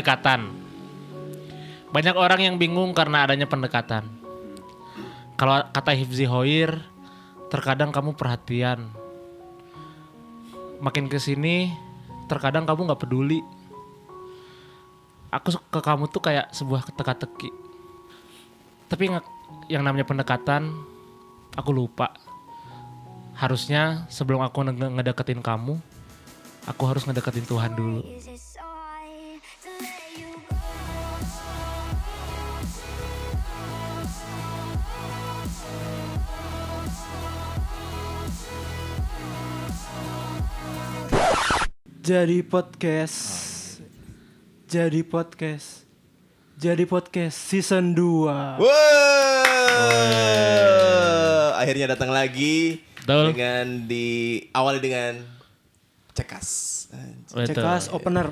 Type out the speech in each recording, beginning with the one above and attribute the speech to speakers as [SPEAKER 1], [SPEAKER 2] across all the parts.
[SPEAKER 1] pendekatan. Banyak orang yang bingung karena adanya pendekatan. Kalau kata Hifzi Hoir, terkadang kamu perhatian. Makin kesini, terkadang kamu nggak peduli. Aku ke kamu tuh kayak sebuah teka-teki. Tapi nge- yang namanya pendekatan, aku lupa. Harusnya sebelum aku nge- ngedeketin kamu, aku harus ngedeketin Tuhan dulu.
[SPEAKER 2] Is it so hard to let you go?
[SPEAKER 3] Jadi podcast. Jadi podcast. Jadi podcast season 2.
[SPEAKER 4] Wow. Akhirnya datang lagi
[SPEAKER 1] Betul.
[SPEAKER 4] dengan di awali dengan cekas. Anjir.
[SPEAKER 3] Cekas opener.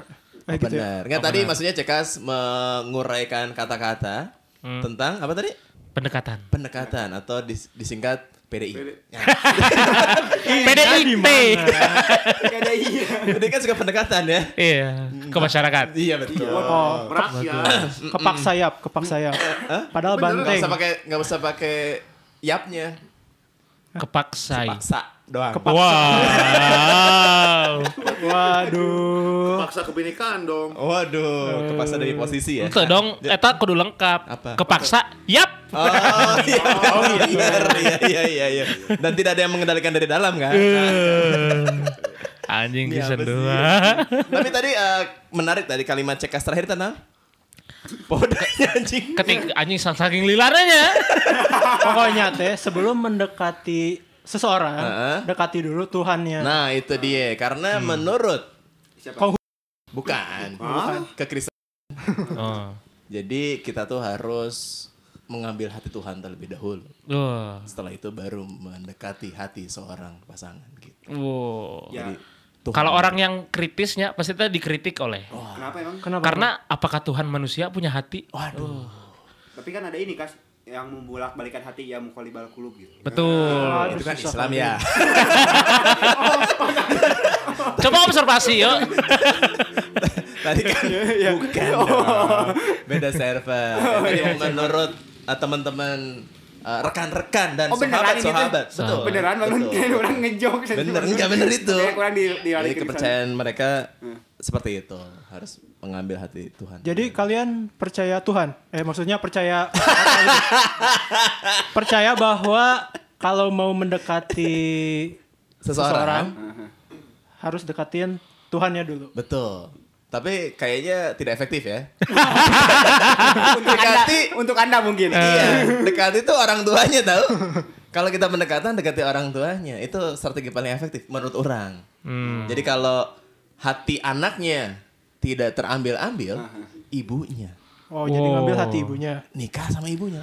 [SPEAKER 3] Eh, gitu ya.
[SPEAKER 4] Benar. Nggak tadi maksudnya cekas menguraikan kata-kata tentang apa tadi?
[SPEAKER 1] pendekatan.
[SPEAKER 4] Pendekatan atau dis- disingkat PDI. Ya.
[SPEAKER 1] Eh, PDIP.
[SPEAKER 4] Ada iya. PDI kan suka pendekatan ya.
[SPEAKER 1] Iya, ke masyarakat.
[SPEAKER 4] Iya betul.
[SPEAKER 3] Oh,
[SPEAKER 5] Rakyat.
[SPEAKER 3] kepak sayap, kepak sayap. Padahal
[SPEAKER 4] Nggak
[SPEAKER 3] banteng.
[SPEAKER 4] usah pakai nggak usah pakai yapnya.
[SPEAKER 1] Kepaksai.
[SPEAKER 4] Paksa doang.
[SPEAKER 1] Wow.
[SPEAKER 3] Waduh.
[SPEAKER 5] Paksa kebinekaan dong.
[SPEAKER 4] Waduh, kepaksa dari posisi ya.
[SPEAKER 1] Itu dong, eta kudu lengkap.
[SPEAKER 4] Apa?
[SPEAKER 1] Kepaksa. Yap.
[SPEAKER 4] Oh iya, benar. Iya, iya, iya, iya. Dan tidak ada yang mengendalikan dari dalam kan?
[SPEAKER 1] Anjing
[SPEAKER 4] Ini
[SPEAKER 1] season
[SPEAKER 4] apa sih?
[SPEAKER 1] 2.
[SPEAKER 4] iya. Tapi tadi eh, menarik tadi kalimat cekas terakhir tenang. Podanya anjing.
[SPEAKER 1] Ketik anjing sang- saking lilarnya.
[SPEAKER 3] Pokoknya teh sebelum mendekati seseorang,
[SPEAKER 4] Heeh.
[SPEAKER 3] dekati dulu Tuhannya.
[SPEAKER 4] Nah, itu dia. Karena menurut
[SPEAKER 3] Kau-
[SPEAKER 4] bukan, bukan kekristenan.
[SPEAKER 1] Oh.
[SPEAKER 4] Jadi kita tuh harus mengambil hati Tuhan terlebih dahulu.
[SPEAKER 1] Wah.
[SPEAKER 4] Setelah itu baru mendekati hati seorang pasangan gitu.
[SPEAKER 1] Wow.
[SPEAKER 3] Ya.
[SPEAKER 4] Jadi Tuhan-
[SPEAKER 1] Kalau orang yang kritisnya pasti tadi dikritik oleh.
[SPEAKER 4] Oh.
[SPEAKER 5] Kenapa emang?
[SPEAKER 3] Kenapa?
[SPEAKER 1] Karena apakah Tuhan manusia punya hati?
[SPEAKER 4] waduh,
[SPEAKER 5] Tapi kan ada ini kas yang membolak balikan hati ya mukolibal kulub gitu.
[SPEAKER 1] Betul.
[SPEAKER 3] Aduh,
[SPEAKER 4] itu kan
[SPEAKER 3] Ah, susah
[SPEAKER 4] Islam
[SPEAKER 3] banget.
[SPEAKER 4] ya.
[SPEAKER 1] Coba observasi yuk.
[SPEAKER 4] Tadi kan
[SPEAKER 3] Iya,
[SPEAKER 5] Iya.
[SPEAKER 4] bukan dong. Beda server.
[SPEAKER 5] Oh,
[SPEAKER 4] Jadi
[SPEAKER 5] iya.
[SPEAKER 4] menurut uh, teman-teman uh, rekan-rekan dan
[SPEAKER 5] Oh, beneran ini tuh?
[SPEAKER 4] sahabat-sahabat. Betul.
[SPEAKER 5] Beneran bangun
[SPEAKER 4] Betul.
[SPEAKER 5] kayak orang ngejok.
[SPEAKER 4] Bener,
[SPEAKER 5] iya,
[SPEAKER 4] enggak bener itu.
[SPEAKER 5] Kayak kurang di Hmm. di
[SPEAKER 4] Jadi kepercayaan mereka seperti itu. Harus mengambil hati Tuhan.
[SPEAKER 3] Jadi kalian percaya Tuhan? Eh maksudnya percaya percaya bahwa kalau mau mendekati
[SPEAKER 4] seseorang,
[SPEAKER 3] harus dekatin Tuhannya dulu.
[SPEAKER 4] betul. Tapi kayaknya tidak efektif ya.
[SPEAKER 5] untuk anda,
[SPEAKER 4] Dekati.
[SPEAKER 5] untuk anda mungkin.
[SPEAKER 4] iya, dekati itu orang tuanya tahu. Kalau kita pendekatan dekati orang tuanya itu strategi paling efektif menurut orang. Jadi kalau hati anaknya tidak terambil-ambil, ibunya
[SPEAKER 3] Oh jadi
[SPEAKER 1] Wow.
[SPEAKER 3] ngambil hati ibunya.
[SPEAKER 4] nikah sama ibunya.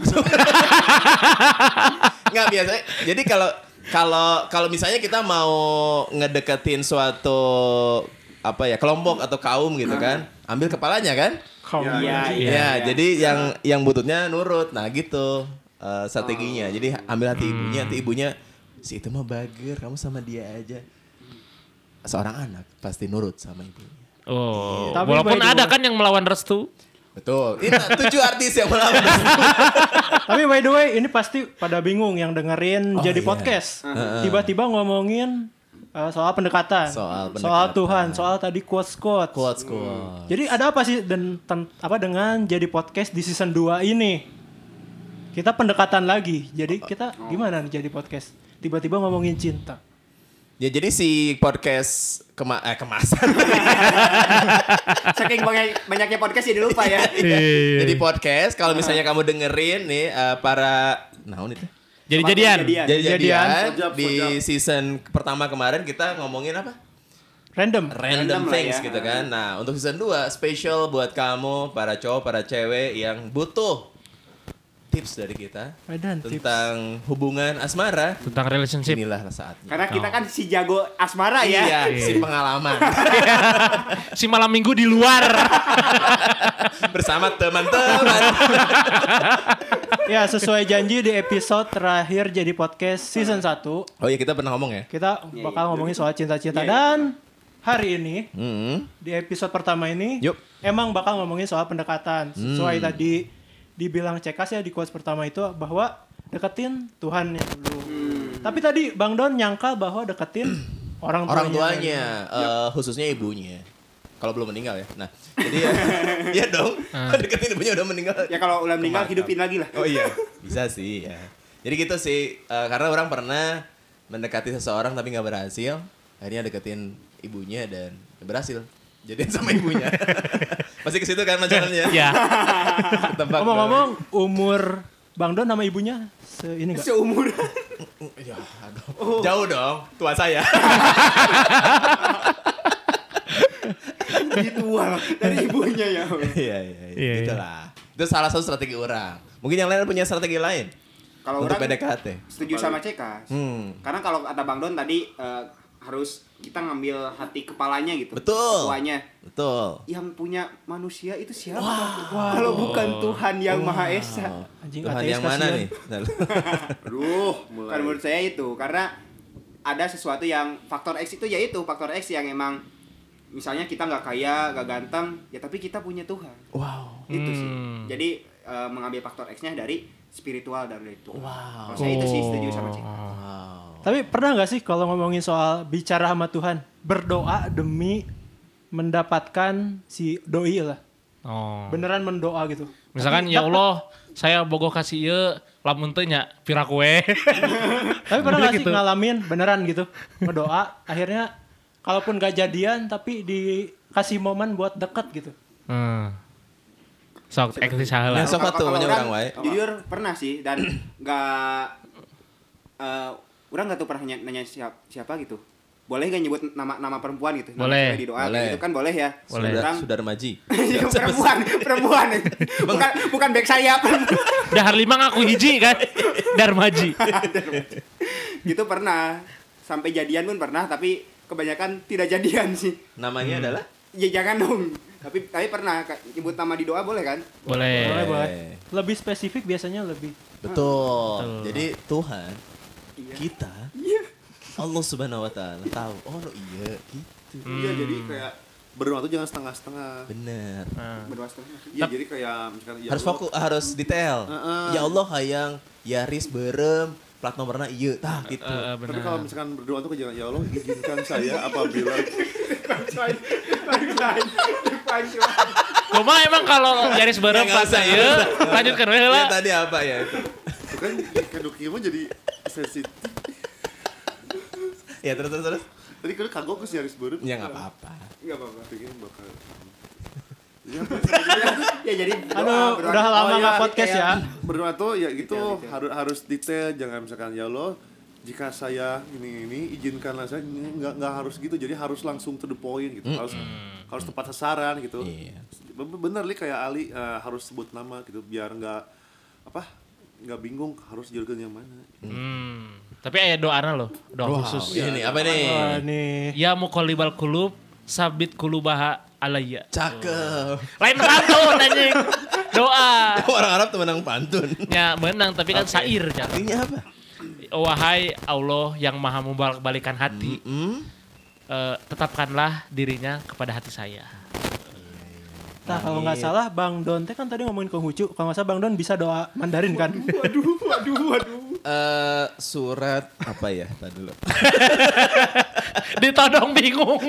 [SPEAKER 4] Nggak biasa. Jadi kalau kalau kalau misalnya kita mau ngedeketin suatu apa ya kelompok atau kaum gitu kan, ambil kepalanya kan?
[SPEAKER 3] Kau
[SPEAKER 5] Iya,
[SPEAKER 4] Iya, jadi yang yang bututnya nurut. Nah, gitu eh, strateginya. Jadi ambil hati ibunya, hati ibunya si itu mah bager, kamu sama dia aja. Seorang anak pasti nurut sama ibunya.
[SPEAKER 1] Oh,
[SPEAKER 3] Tapi
[SPEAKER 1] walaupun
[SPEAKER 3] by the
[SPEAKER 1] ada
[SPEAKER 3] way-
[SPEAKER 1] kan yang melawan restu.
[SPEAKER 4] Betul. Ini tujuh artis yang melawan.
[SPEAKER 3] Tapi by the way ini pasti pada bingung yang dengerin
[SPEAKER 4] Oh,
[SPEAKER 3] jadi
[SPEAKER 4] iya.
[SPEAKER 3] podcast.
[SPEAKER 5] Uh-huh.
[SPEAKER 3] Tiba-tiba ngomongin uh, soal pendekatan,
[SPEAKER 4] Soal pendekatan.
[SPEAKER 3] Tuhan, soal tadi quotes quotes.
[SPEAKER 4] Quotes quotes.
[SPEAKER 3] Jadi ada apa sih dan ten- apa dengan jadi podcast di season 2 ini? Kita pendekatan lagi. Jadi
[SPEAKER 4] Oh.
[SPEAKER 3] kita gimana nih jadi podcast? Tiba-tiba ngomongin cinta.
[SPEAKER 4] Ya jadi si podcast kema eh, kemasan.
[SPEAKER 5] Saking banyak, banyaknya podcast jadi lupa ya.
[SPEAKER 4] jadi podcast kalau misalnya kamu dengerin nih eh, para naon itu?
[SPEAKER 1] Jadi-jadian.
[SPEAKER 5] Jadian.
[SPEAKER 4] Jadi-jadian
[SPEAKER 5] Sejap, sejap.
[SPEAKER 4] di season pertama kemarin kita ngomongin apa?
[SPEAKER 3] Random.
[SPEAKER 4] random
[SPEAKER 5] Random lah
[SPEAKER 4] things
[SPEAKER 5] ya.
[SPEAKER 4] gitu kan. Nah, untuk season 2 spesial buat kamu para cowok, para cewek yang butuh tips dari kita
[SPEAKER 3] Medan tips.
[SPEAKER 4] tentang hubungan asmara.
[SPEAKER 1] Tentang relationship.
[SPEAKER 4] Inilah saatnya.
[SPEAKER 5] Karena kita kan si jago asmara ya.
[SPEAKER 4] Iya, si pengalaman
[SPEAKER 1] si malam minggu di luar.
[SPEAKER 4] bersama teman-teman.
[SPEAKER 3] Ya, sesuai janji di episode terakhir jadi podcast season 1,
[SPEAKER 4] Oh iya, kita pernah ngomong ya.
[SPEAKER 3] kita
[SPEAKER 5] Iya,
[SPEAKER 3] bakal
[SPEAKER 5] iya.
[SPEAKER 3] ngomongin soal cinta-cinta
[SPEAKER 5] Iya, iya.
[SPEAKER 3] dan hari ini
[SPEAKER 4] Hmm.
[SPEAKER 3] di episode pertama ini
[SPEAKER 4] Yuk. Hmm.
[SPEAKER 3] emang bakal ngomongin soal pendekatan. Sesuai tadi dibilang Cekas ya di quotes pertama itu bahwa deketin Tuhan yang dulu.
[SPEAKER 5] Hmm.
[SPEAKER 3] Tapi tadi Bang Don nyangka bahwa deketin orang tuanya.
[SPEAKER 4] orang tuanya eh, khususnya ibunya kalau belum meninggal ya nah jadi ya, ya dong
[SPEAKER 3] Ah.
[SPEAKER 4] deketin ibunya udah meninggal
[SPEAKER 5] Ya kalau udah meninggal
[SPEAKER 4] Kemakam.
[SPEAKER 5] hidupin lagi lah.
[SPEAKER 4] oh iya bisa sih ya jadi gitu sih eh, karena orang pernah mendekati seseorang tapi nggak berhasil akhirnya deketin ibunya dan berhasil jadi sama ibunya pasti ke situ kan masalahnya
[SPEAKER 1] Ya,
[SPEAKER 4] Ketebak
[SPEAKER 3] Iya. Ngomong-ngomong umur Bang Don sama ibunya se ini
[SPEAKER 5] iya.
[SPEAKER 3] enggak?
[SPEAKER 5] Seumur.
[SPEAKER 4] dong. ya, aduh. jauh dong tua saya
[SPEAKER 5] Jadi tua lah. dari ibunya ya.
[SPEAKER 4] iya iya
[SPEAKER 1] Iya,
[SPEAKER 4] iya
[SPEAKER 1] iya.
[SPEAKER 4] gitu lah itu salah satu strategi orang mungkin yang lain punya strategi lain
[SPEAKER 5] Kalau
[SPEAKER 4] untuk
[SPEAKER 5] orang
[SPEAKER 4] PDKT
[SPEAKER 5] setuju sama Cekas.
[SPEAKER 4] hmm
[SPEAKER 5] Karena kalau kata Bang Don tadi eh, harus kita ngambil hati kepalanya gitu.
[SPEAKER 4] Betul.
[SPEAKER 5] Ketuanya.
[SPEAKER 4] betul
[SPEAKER 5] Yang punya manusia itu siapa? Kalau bukan Tuhan yang Maha Esa.
[SPEAKER 3] Anjing
[SPEAKER 4] Tuhan
[SPEAKER 3] ateis
[SPEAKER 4] yang mana
[SPEAKER 3] kasihan.
[SPEAKER 4] nih? Nah, Bentar.
[SPEAKER 5] Aduh, kan menurut saya itu karena ada sesuatu yang faktor X itu yaitu faktor X yang emang misalnya kita nggak kaya, nggak ganteng, ya tapi kita punya Tuhan.
[SPEAKER 4] wow.
[SPEAKER 5] Itu sih.
[SPEAKER 1] Hmm.
[SPEAKER 5] Jadi eh, mengambil faktor X-nya dari spiritual dan dari Tuhan.
[SPEAKER 4] Wow.
[SPEAKER 5] Kalau saya itu
[SPEAKER 1] Oh.
[SPEAKER 5] sih setuju sama Cik.
[SPEAKER 4] Wow.
[SPEAKER 3] Tapi pernah nggak sih kalau ngomongin soal bicara sama Tuhan, berdoa demi mendapatkan si doi lah.
[SPEAKER 1] oh.
[SPEAKER 3] Beneran mendoa gitu.
[SPEAKER 1] Misalkan
[SPEAKER 3] Tapi
[SPEAKER 1] ya
[SPEAKER 3] dapet-
[SPEAKER 1] Allah, saya bogo kasih ieu lamun teu nya pira kue.
[SPEAKER 3] Tapi pernah
[SPEAKER 1] Dia
[SPEAKER 3] nggak sih
[SPEAKER 1] gitu.
[SPEAKER 3] ngalamin beneran gitu, berdoa akhirnya kalaupun gak jadian tapi dikasih momen buat deket gitu.
[SPEAKER 1] Hmm. Sok eksis salah.
[SPEAKER 4] Nah, sok
[SPEAKER 5] Kalau-
[SPEAKER 4] atuh,
[SPEAKER 5] kalau
[SPEAKER 4] banyak
[SPEAKER 5] orang,
[SPEAKER 4] orang wae.
[SPEAKER 5] Jujur pernah sih dan nggak eh orang nggak tuh pernah nanya, nanya siap- siapa gitu. Boleh gak nyebut nama nama perempuan gitu? Nama
[SPEAKER 1] Boleh.
[SPEAKER 5] cewek di doa
[SPEAKER 4] Boleh.
[SPEAKER 5] gitu kan boleh ya.
[SPEAKER 1] Boleh.
[SPEAKER 4] Sudar,
[SPEAKER 5] Orang-
[SPEAKER 4] sudar maji.
[SPEAKER 5] Iya, perempuan, perempuan. Bukan bukan back sayap.
[SPEAKER 1] Dahar lima ngaku hiji kan. Darmaji.
[SPEAKER 5] gitu pernah. Sampai jadian pun pernah, tapi kebanyakan tidak jadian sih.
[SPEAKER 4] Namanya adalah?
[SPEAKER 5] Ya jangan dong. Tapi tapi pernah Kak, nyebut nama di doa boleh kan?
[SPEAKER 1] Boleh.
[SPEAKER 3] Boleh boleh.
[SPEAKER 4] Eh.
[SPEAKER 3] Lebih spesifik biasanya lebih.
[SPEAKER 4] Betul. Jadi Tuhan,
[SPEAKER 5] Iya.
[SPEAKER 4] kita,
[SPEAKER 5] Iya.
[SPEAKER 4] Allah subhanahu wa ta'ala tahu. Oh iya, gitu.
[SPEAKER 1] Hmm.
[SPEAKER 6] Iya jadi kayak berdoa tuh jangan setengah-setengah.
[SPEAKER 4] Bener.
[SPEAKER 1] Ah.
[SPEAKER 5] Berdoa setengah.
[SPEAKER 6] Iya jadi kayak misalkan ya
[SPEAKER 4] harus
[SPEAKER 6] Allah,
[SPEAKER 4] fokus, harus detail.
[SPEAKER 6] Heeh.
[SPEAKER 4] Ya Allah hayang, Yaris berem, plat nomorna iya, tah gitu.
[SPEAKER 1] Eh, eh,
[SPEAKER 6] Tapi kalau
[SPEAKER 1] benar.
[SPEAKER 6] misalkan berdoa tuh jangan ya Allah izinkan saya apabila
[SPEAKER 5] Punchline, punchline, punchline.
[SPEAKER 1] Cuma emang kalau garis bareng
[SPEAKER 4] Ya, nggak
[SPEAKER 1] pas
[SPEAKER 4] usah, ya.
[SPEAKER 1] saya iya. lanjutkan we
[SPEAKER 4] Ya,
[SPEAKER 1] lah.
[SPEAKER 4] tadi apa ya? itu?
[SPEAKER 6] itu kan kaduki mah jadi sensitif.
[SPEAKER 4] Ya terus terus terus.
[SPEAKER 6] Tadi kan kagok ke si Haris Burut.
[SPEAKER 4] Ya nggak apa-apa.
[SPEAKER 5] Enggak apa-apa.
[SPEAKER 6] Pikir bakal
[SPEAKER 5] Ya jadi doa,
[SPEAKER 3] Aduh,
[SPEAKER 5] berdoa.
[SPEAKER 3] udah lama
[SPEAKER 6] Oh, iya,
[SPEAKER 3] nggak podcast
[SPEAKER 5] iya.
[SPEAKER 3] ya.
[SPEAKER 6] berdoa tuh ya gitu
[SPEAKER 5] Detail, detail.
[SPEAKER 6] harus harus detail jangan misalkan ya Allah jika saya ini ini izinkanlah saya ini, nggak nggak harus gitu jadi harus langsung to the point gitu harus harus tepat sasaran gitu
[SPEAKER 4] Iya.
[SPEAKER 6] Be- bener li kayak Ali eh, harus sebut nama gitu biar nggak apa nggak bingung harus jurgen yang mana
[SPEAKER 1] Hmm. Tapi aya doana loh, doa
[SPEAKER 4] Wow,
[SPEAKER 1] khusus.
[SPEAKER 4] ini apa nih?
[SPEAKER 3] Wah nih.
[SPEAKER 1] Ya mukolibal kulub sabit kulubaha alayya.
[SPEAKER 4] Cakep.
[SPEAKER 1] Lain pantun anjing. Doa.
[SPEAKER 4] Orang Arab tuh menang pantun.
[SPEAKER 1] Ya menang tapi kan sair nya.
[SPEAKER 4] Artinya apa?
[SPEAKER 1] Wahai Allah yang maha membolak-balikan hati,
[SPEAKER 4] Hmm.
[SPEAKER 1] eh, tetapkanlah dirinya kepada hati saya.
[SPEAKER 3] Nah kalau
[SPEAKER 5] Iya.
[SPEAKER 3] nggak salah Bang Don teh kan tadi ngomongin Konghucu, kalau nggak salah Bang Don bisa doa Mandarin kan?
[SPEAKER 5] Waduh, waduh, waduh.
[SPEAKER 4] Eh surat apa ya? Tadi dulu.
[SPEAKER 1] Ditodong bingung.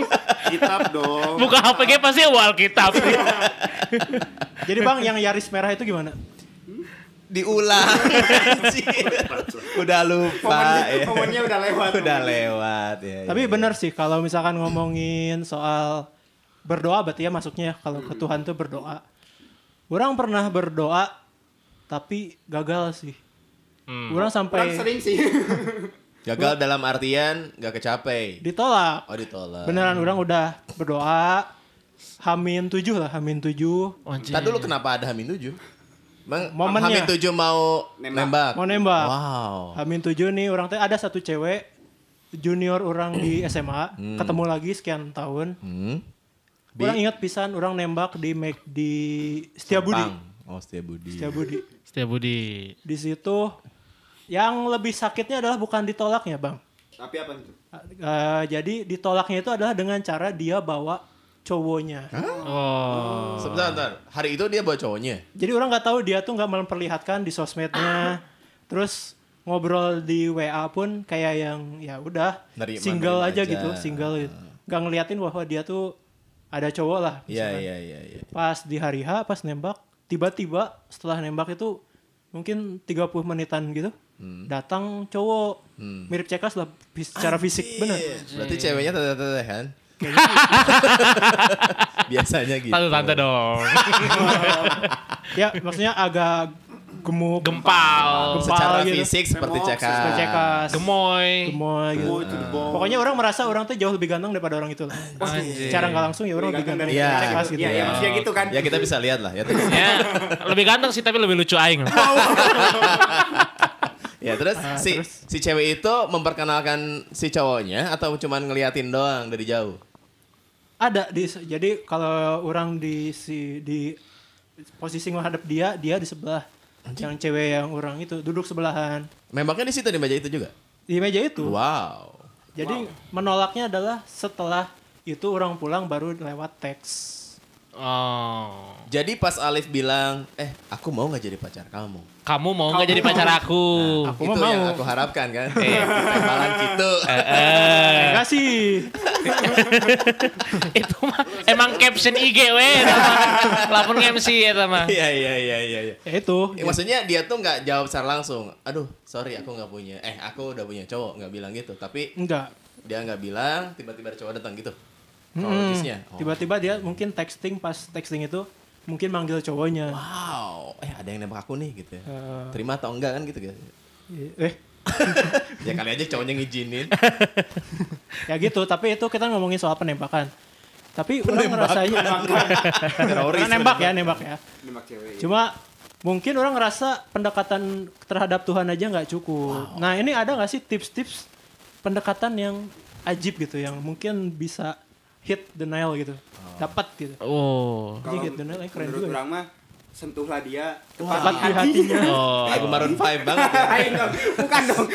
[SPEAKER 6] kitab dong
[SPEAKER 1] Buka HPG pasti awal kitab.
[SPEAKER 3] Jadi Bang yang Yaris merah itu gimana?
[SPEAKER 4] Diulang. anjing. Udah lupa.
[SPEAKER 5] Momennya,
[SPEAKER 4] ya.
[SPEAKER 5] momennya udah lewat.
[SPEAKER 4] Udah lewat ya.
[SPEAKER 3] Tapi
[SPEAKER 4] ya.
[SPEAKER 3] benar sih kalau misalkan ngomongin soal berdoa berarti ya masuknya ya kalau ke Tuhan tuh berdoa. Orang pernah berdoa tapi gagal sih. Orang
[SPEAKER 5] Orang
[SPEAKER 3] sampai
[SPEAKER 5] sering sih.
[SPEAKER 4] gagal dalam artian gak kecapai.
[SPEAKER 3] ditolak.
[SPEAKER 4] Oh ditolak.
[SPEAKER 3] Beneran orang udah berdoa Hamin tujuh lah, Hamin tujuh
[SPEAKER 1] Oh, Anjing.
[SPEAKER 4] Tadi dulu kenapa ada Hamin 7? Bang,
[SPEAKER 3] Momennya.
[SPEAKER 4] Hamin 7 mau
[SPEAKER 5] Nembak.
[SPEAKER 4] nembak.
[SPEAKER 3] mau nembak.
[SPEAKER 4] Wow.
[SPEAKER 3] Hamin tujuh nih orang teh ada satu cewek junior orang di SMA ketemu lagi sekian tahun.
[SPEAKER 4] Hmm. Di
[SPEAKER 3] Orang ingat pisan orang nembak di Mac di Setiabudi.
[SPEAKER 4] Pang. Oh Setiabudi.
[SPEAKER 3] Setiabudi.
[SPEAKER 1] Setia Budi.
[SPEAKER 3] di situ yang lebih sakitnya adalah bukan ditolaknya bang
[SPEAKER 5] Tapi apa itu?
[SPEAKER 3] Eh, jadi ditolaknya itu adalah dengan cara dia bawa cowoknya.
[SPEAKER 1] Oh.
[SPEAKER 4] Sebentar, sebentar. Hari itu dia bawa cowoknya.
[SPEAKER 3] Jadi orang nggak tahu dia tuh nggak memperlihatkan di
[SPEAKER 4] Ah.
[SPEAKER 3] sosmednya. Terus ngobrol di WA pun kayak yang ya udah
[SPEAKER 4] Nerima,
[SPEAKER 3] single
[SPEAKER 4] nerima
[SPEAKER 3] aja,
[SPEAKER 4] aja. Ah.
[SPEAKER 3] gitu, single gitu. Nggak ngeliatin bahwa dia tuh ada cowok lah.
[SPEAKER 4] Iya,
[SPEAKER 3] misalkan.
[SPEAKER 4] iya, iya, iya.
[SPEAKER 3] Pas di hari H pas nembak, tiba-tiba setelah nembak itu mungkin 30 menitan gitu. Datang cowok mirip cekas lah fis- secara fisik bener.
[SPEAKER 4] Berarti ceweknya tete-tete kan? Biasanya gitu.
[SPEAKER 1] Tante-tante dong.
[SPEAKER 3] Ya maksudnya agak gemuk,
[SPEAKER 1] Gempal.
[SPEAKER 3] Gempal
[SPEAKER 4] Secara
[SPEAKER 3] gitu.
[SPEAKER 4] fisik seperti
[SPEAKER 6] Memang,
[SPEAKER 4] cekas.
[SPEAKER 3] Seperti
[SPEAKER 1] Ah,
[SPEAKER 3] cekas,
[SPEAKER 1] Gemoy.
[SPEAKER 3] gemoy gitu.
[SPEAKER 6] Boy to the bone.
[SPEAKER 3] Pokoknya orang merasa orang tuh jauh lebih ganteng daripada orang itu lah.
[SPEAKER 1] Anjing.
[SPEAKER 3] Secara nggak langsung ya orang lebih
[SPEAKER 5] Ganteng
[SPEAKER 3] ganteng
[SPEAKER 5] dari
[SPEAKER 3] daripada
[SPEAKER 4] Iya.
[SPEAKER 3] cekas gitu.
[SPEAKER 5] Iya, iya, maksudnya gitu kan.
[SPEAKER 4] Ya kita bisa lihat lah ya. terus.
[SPEAKER 1] Ya, lebih ganteng sih tapi lebih lucu aing.
[SPEAKER 4] ya terus
[SPEAKER 3] Ah,
[SPEAKER 4] si si cewek itu memperkenalkan si cowoknya atau cuman ngeliatin doang dari jauh?
[SPEAKER 3] Ada di jadi kalau orang di si di posisi menghadap dia, dia di sebelah. Yang cewek yang orang itu duduk sebelahan
[SPEAKER 4] Memangnya di situ di meja itu juga.
[SPEAKER 3] di meja itu.
[SPEAKER 4] Wow.
[SPEAKER 3] Jadi menolaknya adalah setelah itu orang pulang baru lewat teks.
[SPEAKER 1] Oh.
[SPEAKER 4] Jadi pas Alif bilang, "Eh, aku mau nggak jadi pacar kamu?"
[SPEAKER 1] Kamu mau nggak jadi pacar aku?
[SPEAKER 3] Aku
[SPEAKER 4] itu
[SPEAKER 3] mah mau. Iya. Eh.
[SPEAKER 4] yang aku harapkan kan. Eh, malam gitu.
[SPEAKER 1] Eh,
[SPEAKER 3] Terima kasih.
[SPEAKER 1] itu mah emang caption IG we eta mah. Lamun MC eta mah.
[SPEAKER 4] Iya, iya, iya, iya, iya.
[SPEAKER 3] Ya itu.
[SPEAKER 4] Ya, maksudnya dia tuh nggak jawab secara langsung. Aduh, sorry aku nggak punya. Eh, aku udah punya cowok nggak bilang gitu. Tapi
[SPEAKER 3] Enggak.
[SPEAKER 4] dia nggak bilang, tiba-tiba ada cowok datang gitu.
[SPEAKER 3] Mm-mm.
[SPEAKER 4] Kronologisnya. Oh,
[SPEAKER 3] Hmm, Tiba-tiba dia mungkin texting pas texting itu mungkin manggil cowoknya.
[SPEAKER 4] Wow, eh ada yang nembak aku nih gitu. ya.
[SPEAKER 3] Eh.
[SPEAKER 4] Terima atau enggak kan gitu kan?
[SPEAKER 3] Eh,
[SPEAKER 4] Ya kali aja cowoknya ngizinin.
[SPEAKER 3] ya gitu. Tapi itu kita ngomongin soal penembakan. Tapi orang ngerasanya
[SPEAKER 4] Teroris.
[SPEAKER 3] Karena nembak ya, nembak ya.
[SPEAKER 5] nembak cewek.
[SPEAKER 3] Cuma mungkin orang ngerasa pendekatan terhadap Tuhan aja nggak cukup. Nah ini ada nggak sih tips-tips pendekatan yang ajib gitu, yang mungkin bisa hit the nail gitu, dapat gitu.
[SPEAKER 1] Oh.
[SPEAKER 5] Kalau
[SPEAKER 3] Jadi gitu, nah, keren
[SPEAKER 5] menurut
[SPEAKER 3] juga ya.
[SPEAKER 5] orang mah sentuhlah dia
[SPEAKER 3] Dapat
[SPEAKER 5] tepat
[SPEAKER 3] di hatinya.
[SPEAKER 1] Oh.
[SPEAKER 4] Lagu Maroon 5 banget. ya.
[SPEAKER 5] Lain dong, bukan dong.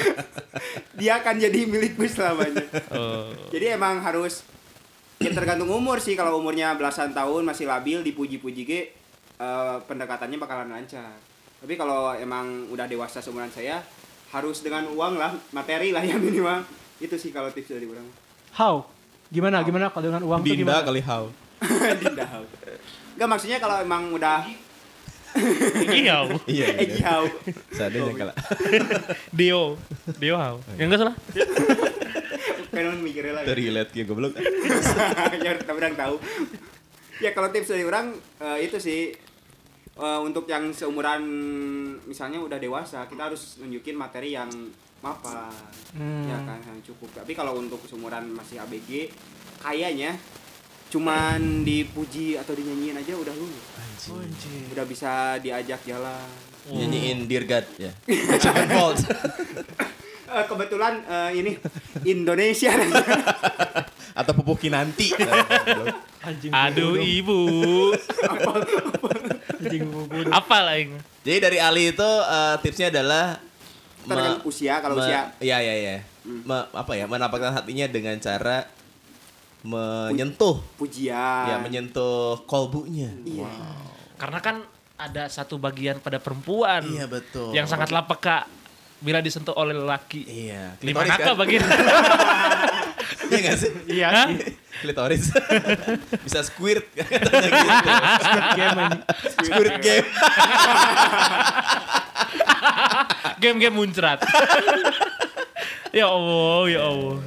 [SPEAKER 5] Dia akan jadi milikku selamanya.
[SPEAKER 4] Oh.
[SPEAKER 5] Jadi emang harus ya tergantung umur sih. Kalau umurnya belasan tahun masih labil dipuji-puji ge eh, pendekatannya bakalan lancar. Tapi kalau emang udah dewasa seumuran saya harus dengan uang lah, materi lah yang minimal. Itu sih kalau tips dari orang.
[SPEAKER 3] How? Gimana? Gimana kalau dengan uang tuh
[SPEAKER 4] Dinda
[SPEAKER 3] gimana?
[SPEAKER 4] kali how.
[SPEAKER 5] Dinda hau. Enggak maksudnya kalau emang udah
[SPEAKER 1] Iya.
[SPEAKER 4] Iya.
[SPEAKER 5] eh
[SPEAKER 4] gitu.
[SPEAKER 5] jauh.
[SPEAKER 4] Seandainya kalah.
[SPEAKER 1] Dio. Dio how? Ya enggak salah.
[SPEAKER 5] Kan mikirnya lagi.
[SPEAKER 4] Relate gitu goblok.
[SPEAKER 5] ya tapi orang tahu ya kalau tips dari orang eh, itu sih Eh, untuk yang seumuran misalnya udah dewasa kita harus nunjukin materi yang mapan
[SPEAKER 4] Hmm.
[SPEAKER 5] ya kan yang cukup tapi kalau untuk seumuran masih ABG kayaknya cuman dipuji atau dinyanyiin aja udah lu udah bisa diajak jalan
[SPEAKER 4] Nyanyiin Dear God ya. Seven Bolt.
[SPEAKER 5] Eh, kebetulan eh, ini Indonesia
[SPEAKER 4] Atau pupuki nanti. Nah,
[SPEAKER 3] Anjing.
[SPEAKER 1] Aduh ibu.
[SPEAKER 3] Anjing bodoh.
[SPEAKER 1] Apa lah ini?
[SPEAKER 4] Jadi dari Ali itu eh, tipsnya adalah
[SPEAKER 5] Tergantung
[SPEAKER 4] me-
[SPEAKER 5] kan usia, kalau
[SPEAKER 4] me-
[SPEAKER 5] usia. Hmm.
[SPEAKER 4] Iya iya iya. Me- apa ya? Menampakkan hatinya dengan cara menyentuh.
[SPEAKER 5] pujian
[SPEAKER 4] Ya, menyentuh kolbunya.
[SPEAKER 5] Iya.
[SPEAKER 1] Karena kan ada satu bagian pada perempuan.
[SPEAKER 4] Iya, betul.
[SPEAKER 1] Yang sangatlah peka bila disentuh oleh lelaki.
[SPEAKER 4] Iya.
[SPEAKER 1] Lima
[SPEAKER 4] Klitoris,
[SPEAKER 1] naka
[SPEAKER 4] kan?
[SPEAKER 1] bagian.
[SPEAKER 4] Iya nggak sih?
[SPEAKER 3] Iya
[SPEAKER 1] Hah?
[SPEAKER 3] sih.
[SPEAKER 4] Klitoris. Bisa squirt katanya gitu.
[SPEAKER 3] Game ini.
[SPEAKER 4] Squirt game.
[SPEAKER 1] Game-game muncrat. ya Allah, ya Allah.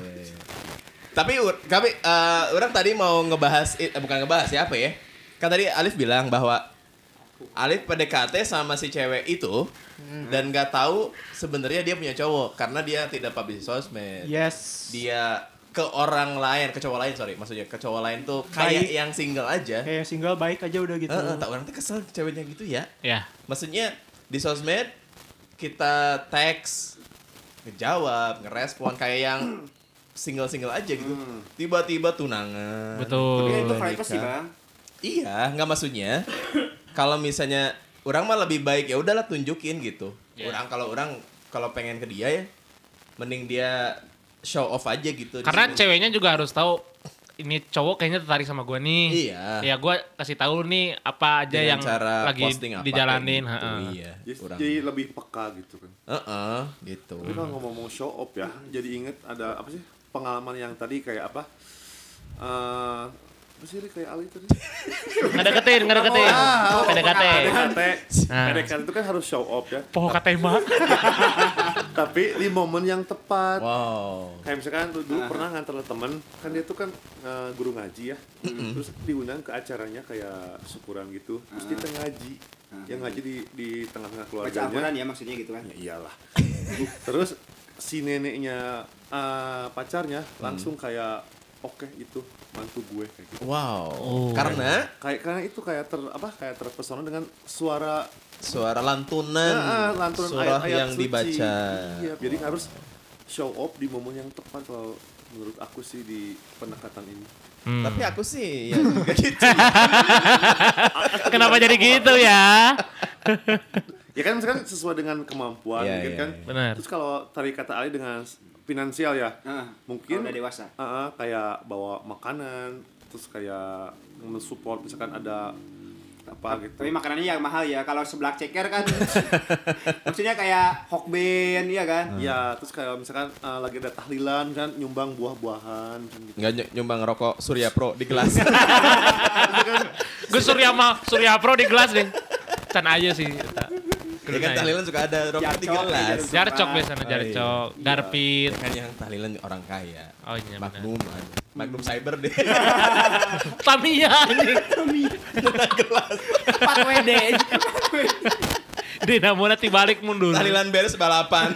[SPEAKER 4] Tapi ur- kami eh, orang tadi mau ngebahas eh, bukan ngebahas ya apa ya? Kan tadi Alif bilang bahwa Alif PDKT sama si cewek itu
[SPEAKER 3] Hmm.
[SPEAKER 4] dan nggak tahu sebenarnya dia punya cowok karena dia tidak publish di sosmed.
[SPEAKER 3] Iya. Yes.
[SPEAKER 4] Dia ke orang lain, ke cowok lain sorry, maksudnya ke cowok lain tuh
[SPEAKER 3] Baik.
[SPEAKER 4] kayak yang single aja.
[SPEAKER 3] Kayak single baik aja udah gitu.
[SPEAKER 4] Heeh, Eh, tak orang tuh kesel ceweknya gitu ya.
[SPEAKER 1] Ya.
[SPEAKER 4] Maksudnya di sosmed kita teks, ngejawab, ngerespon kayak yang single-single aja gitu. Tiba-tiba tunangan.
[SPEAKER 5] Hmm. tapi kan itu
[SPEAKER 1] Betul.
[SPEAKER 5] privacy
[SPEAKER 4] Nikah.
[SPEAKER 5] bang
[SPEAKER 4] Iya, nggak maksudnya. kalau misalnya orang mah lebih baik ya udahlah tunjukin gitu.
[SPEAKER 1] Iya.
[SPEAKER 4] Orang kalau orang kalau pengen ke dia ya mending dia show off aja gitu. di
[SPEAKER 1] Karena
[SPEAKER 4] sini.
[SPEAKER 1] ceweknya juga harus tahu ini cowok kayaknya tertarik sama gue nih.
[SPEAKER 4] Iya.
[SPEAKER 1] Ya gue kasih tahu nih apa aja
[SPEAKER 4] Dengan
[SPEAKER 1] yang
[SPEAKER 4] cara
[SPEAKER 1] lagi
[SPEAKER 4] posting apa
[SPEAKER 1] dijalanin.
[SPEAKER 4] kayak gitu.
[SPEAKER 1] heeh.
[SPEAKER 4] Iya,
[SPEAKER 6] Jadi,
[SPEAKER 4] kurang.
[SPEAKER 6] jadi lebih peka gitu kan.
[SPEAKER 4] Heeh, gitu.
[SPEAKER 6] Tapi kalau ngomong show off ya, jadi inget ada apa sih pengalaman yang tadi kayak apa? Eh, apa sih Ri? kayak Ali tadi?
[SPEAKER 1] Ngedeketin, ngedeketin. PDKT.
[SPEAKER 6] PDKT,
[SPEAKER 1] Ah.
[SPEAKER 6] PDKT itu kan harus show off ya.
[SPEAKER 1] Poho katema.
[SPEAKER 6] Tapi di momen yang tepat.
[SPEAKER 4] Wow.
[SPEAKER 6] Kayak misalkan lu
[SPEAKER 5] Nah.
[SPEAKER 6] dulu pernah nganter temen, kan dia tuh kan eh, guru ngaji ya, terus diundang ke acaranya kayak syukuran gitu, terus kita ngaji, yang ngaji di di tengah-tengah
[SPEAKER 5] Ah. Baca Al-Quran
[SPEAKER 6] keluarganya,
[SPEAKER 5] ya maksudnya gitu kan.
[SPEAKER 6] ya iyalah. terus si neneknya eh, pacarnya langsung
[SPEAKER 4] Hmm.
[SPEAKER 6] kayak oke itu mantu gue kayak gitu.
[SPEAKER 4] Wow.
[SPEAKER 1] Oh.
[SPEAKER 4] Karena
[SPEAKER 6] Kayak karena itu kayak ter apa kayak terpesona dengan suara
[SPEAKER 4] suara lantunan,
[SPEAKER 6] Ah, ah, lantunan
[SPEAKER 4] surah
[SPEAKER 6] ayat-ayat
[SPEAKER 4] yang
[SPEAKER 6] suci.
[SPEAKER 4] dibaca.
[SPEAKER 6] Iya, jadi harus show off di momen yang tepat kalau menurut aku sih di pendekatan ini.
[SPEAKER 1] Hmm.
[SPEAKER 4] Tapi aku sih ya juga gitu.
[SPEAKER 1] Kenapa jadi gitu ya?
[SPEAKER 6] Ya kan kan sesuai dengan kemampuan
[SPEAKER 4] Iya,
[SPEAKER 6] mungkin
[SPEAKER 4] iya,
[SPEAKER 6] kan.
[SPEAKER 4] iya.
[SPEAKER 1] Benar.
[SPEAKER 6] Terus kalau tadi kata Ali dengan s- finansial ya,
[SPEAKER 5] Heeh.
[SPEAKER 6] mungkin
[SPEAKER 5] Kalau udah dewasa.
[SPEAKER 6] Ah, ah, kayak bawa makanan, terus kayak mensupport misalkan ada apa gitu.
[SPEAKER 5] Tapi makanannya yang mahal ya. Kalau seblak ceker kan maksudnya kayak hokben iya kan.
[SPEAKER 6] Ya, terus kayak misalkan eh, lagi ada tahlilan kan nyumbang buah-buahan kan gitu.
[SPEAKER 4] Enggak nyumbang rokok Surya Pro di gelas.
[SPEAKER 1] Gue Surya Ma, Surya Pro di gelas deh. Can aja sih. eta.
[SPEAKER 4] ya kan tahlilan suka ada
[SPEAKER 6] Ya,
[SPEAKER 4] rokok di
[SPEAKER 5] Jarcok,
[SPEAKER 4] gelas.
[SPEAKER 6] gitu.
[SPEAKER 5] iya,
[SPEAKER 1] Jarcok biasanya
[SPEAKER 4] Oh,
[SPEAKER 1] jarcok, garpit.
[SPEAKER 4] Kan yang tahlilan orang
[SPEAKER 1] Iya.
[SPEAKER 4] kaya.
[SPEAKER 1] Oh, iya, benar.
[SPEAKER 4] Magnum. aja. Magnum
[SPEAKER 6] Hmm.
[SPEAKER 4] Cyber deh.
[SPEAKER 1] Tamiya anjing.
[SPEAKER 5] Pak Wede.
[SPEAKER 1] Dinamona balik mundur.
[SPEAKER 4] tahlilan beres balapan.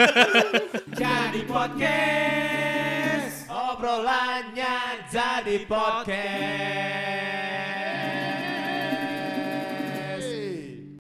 [SPEAKER 7] Jadi podcast Obrolannya jadi podcast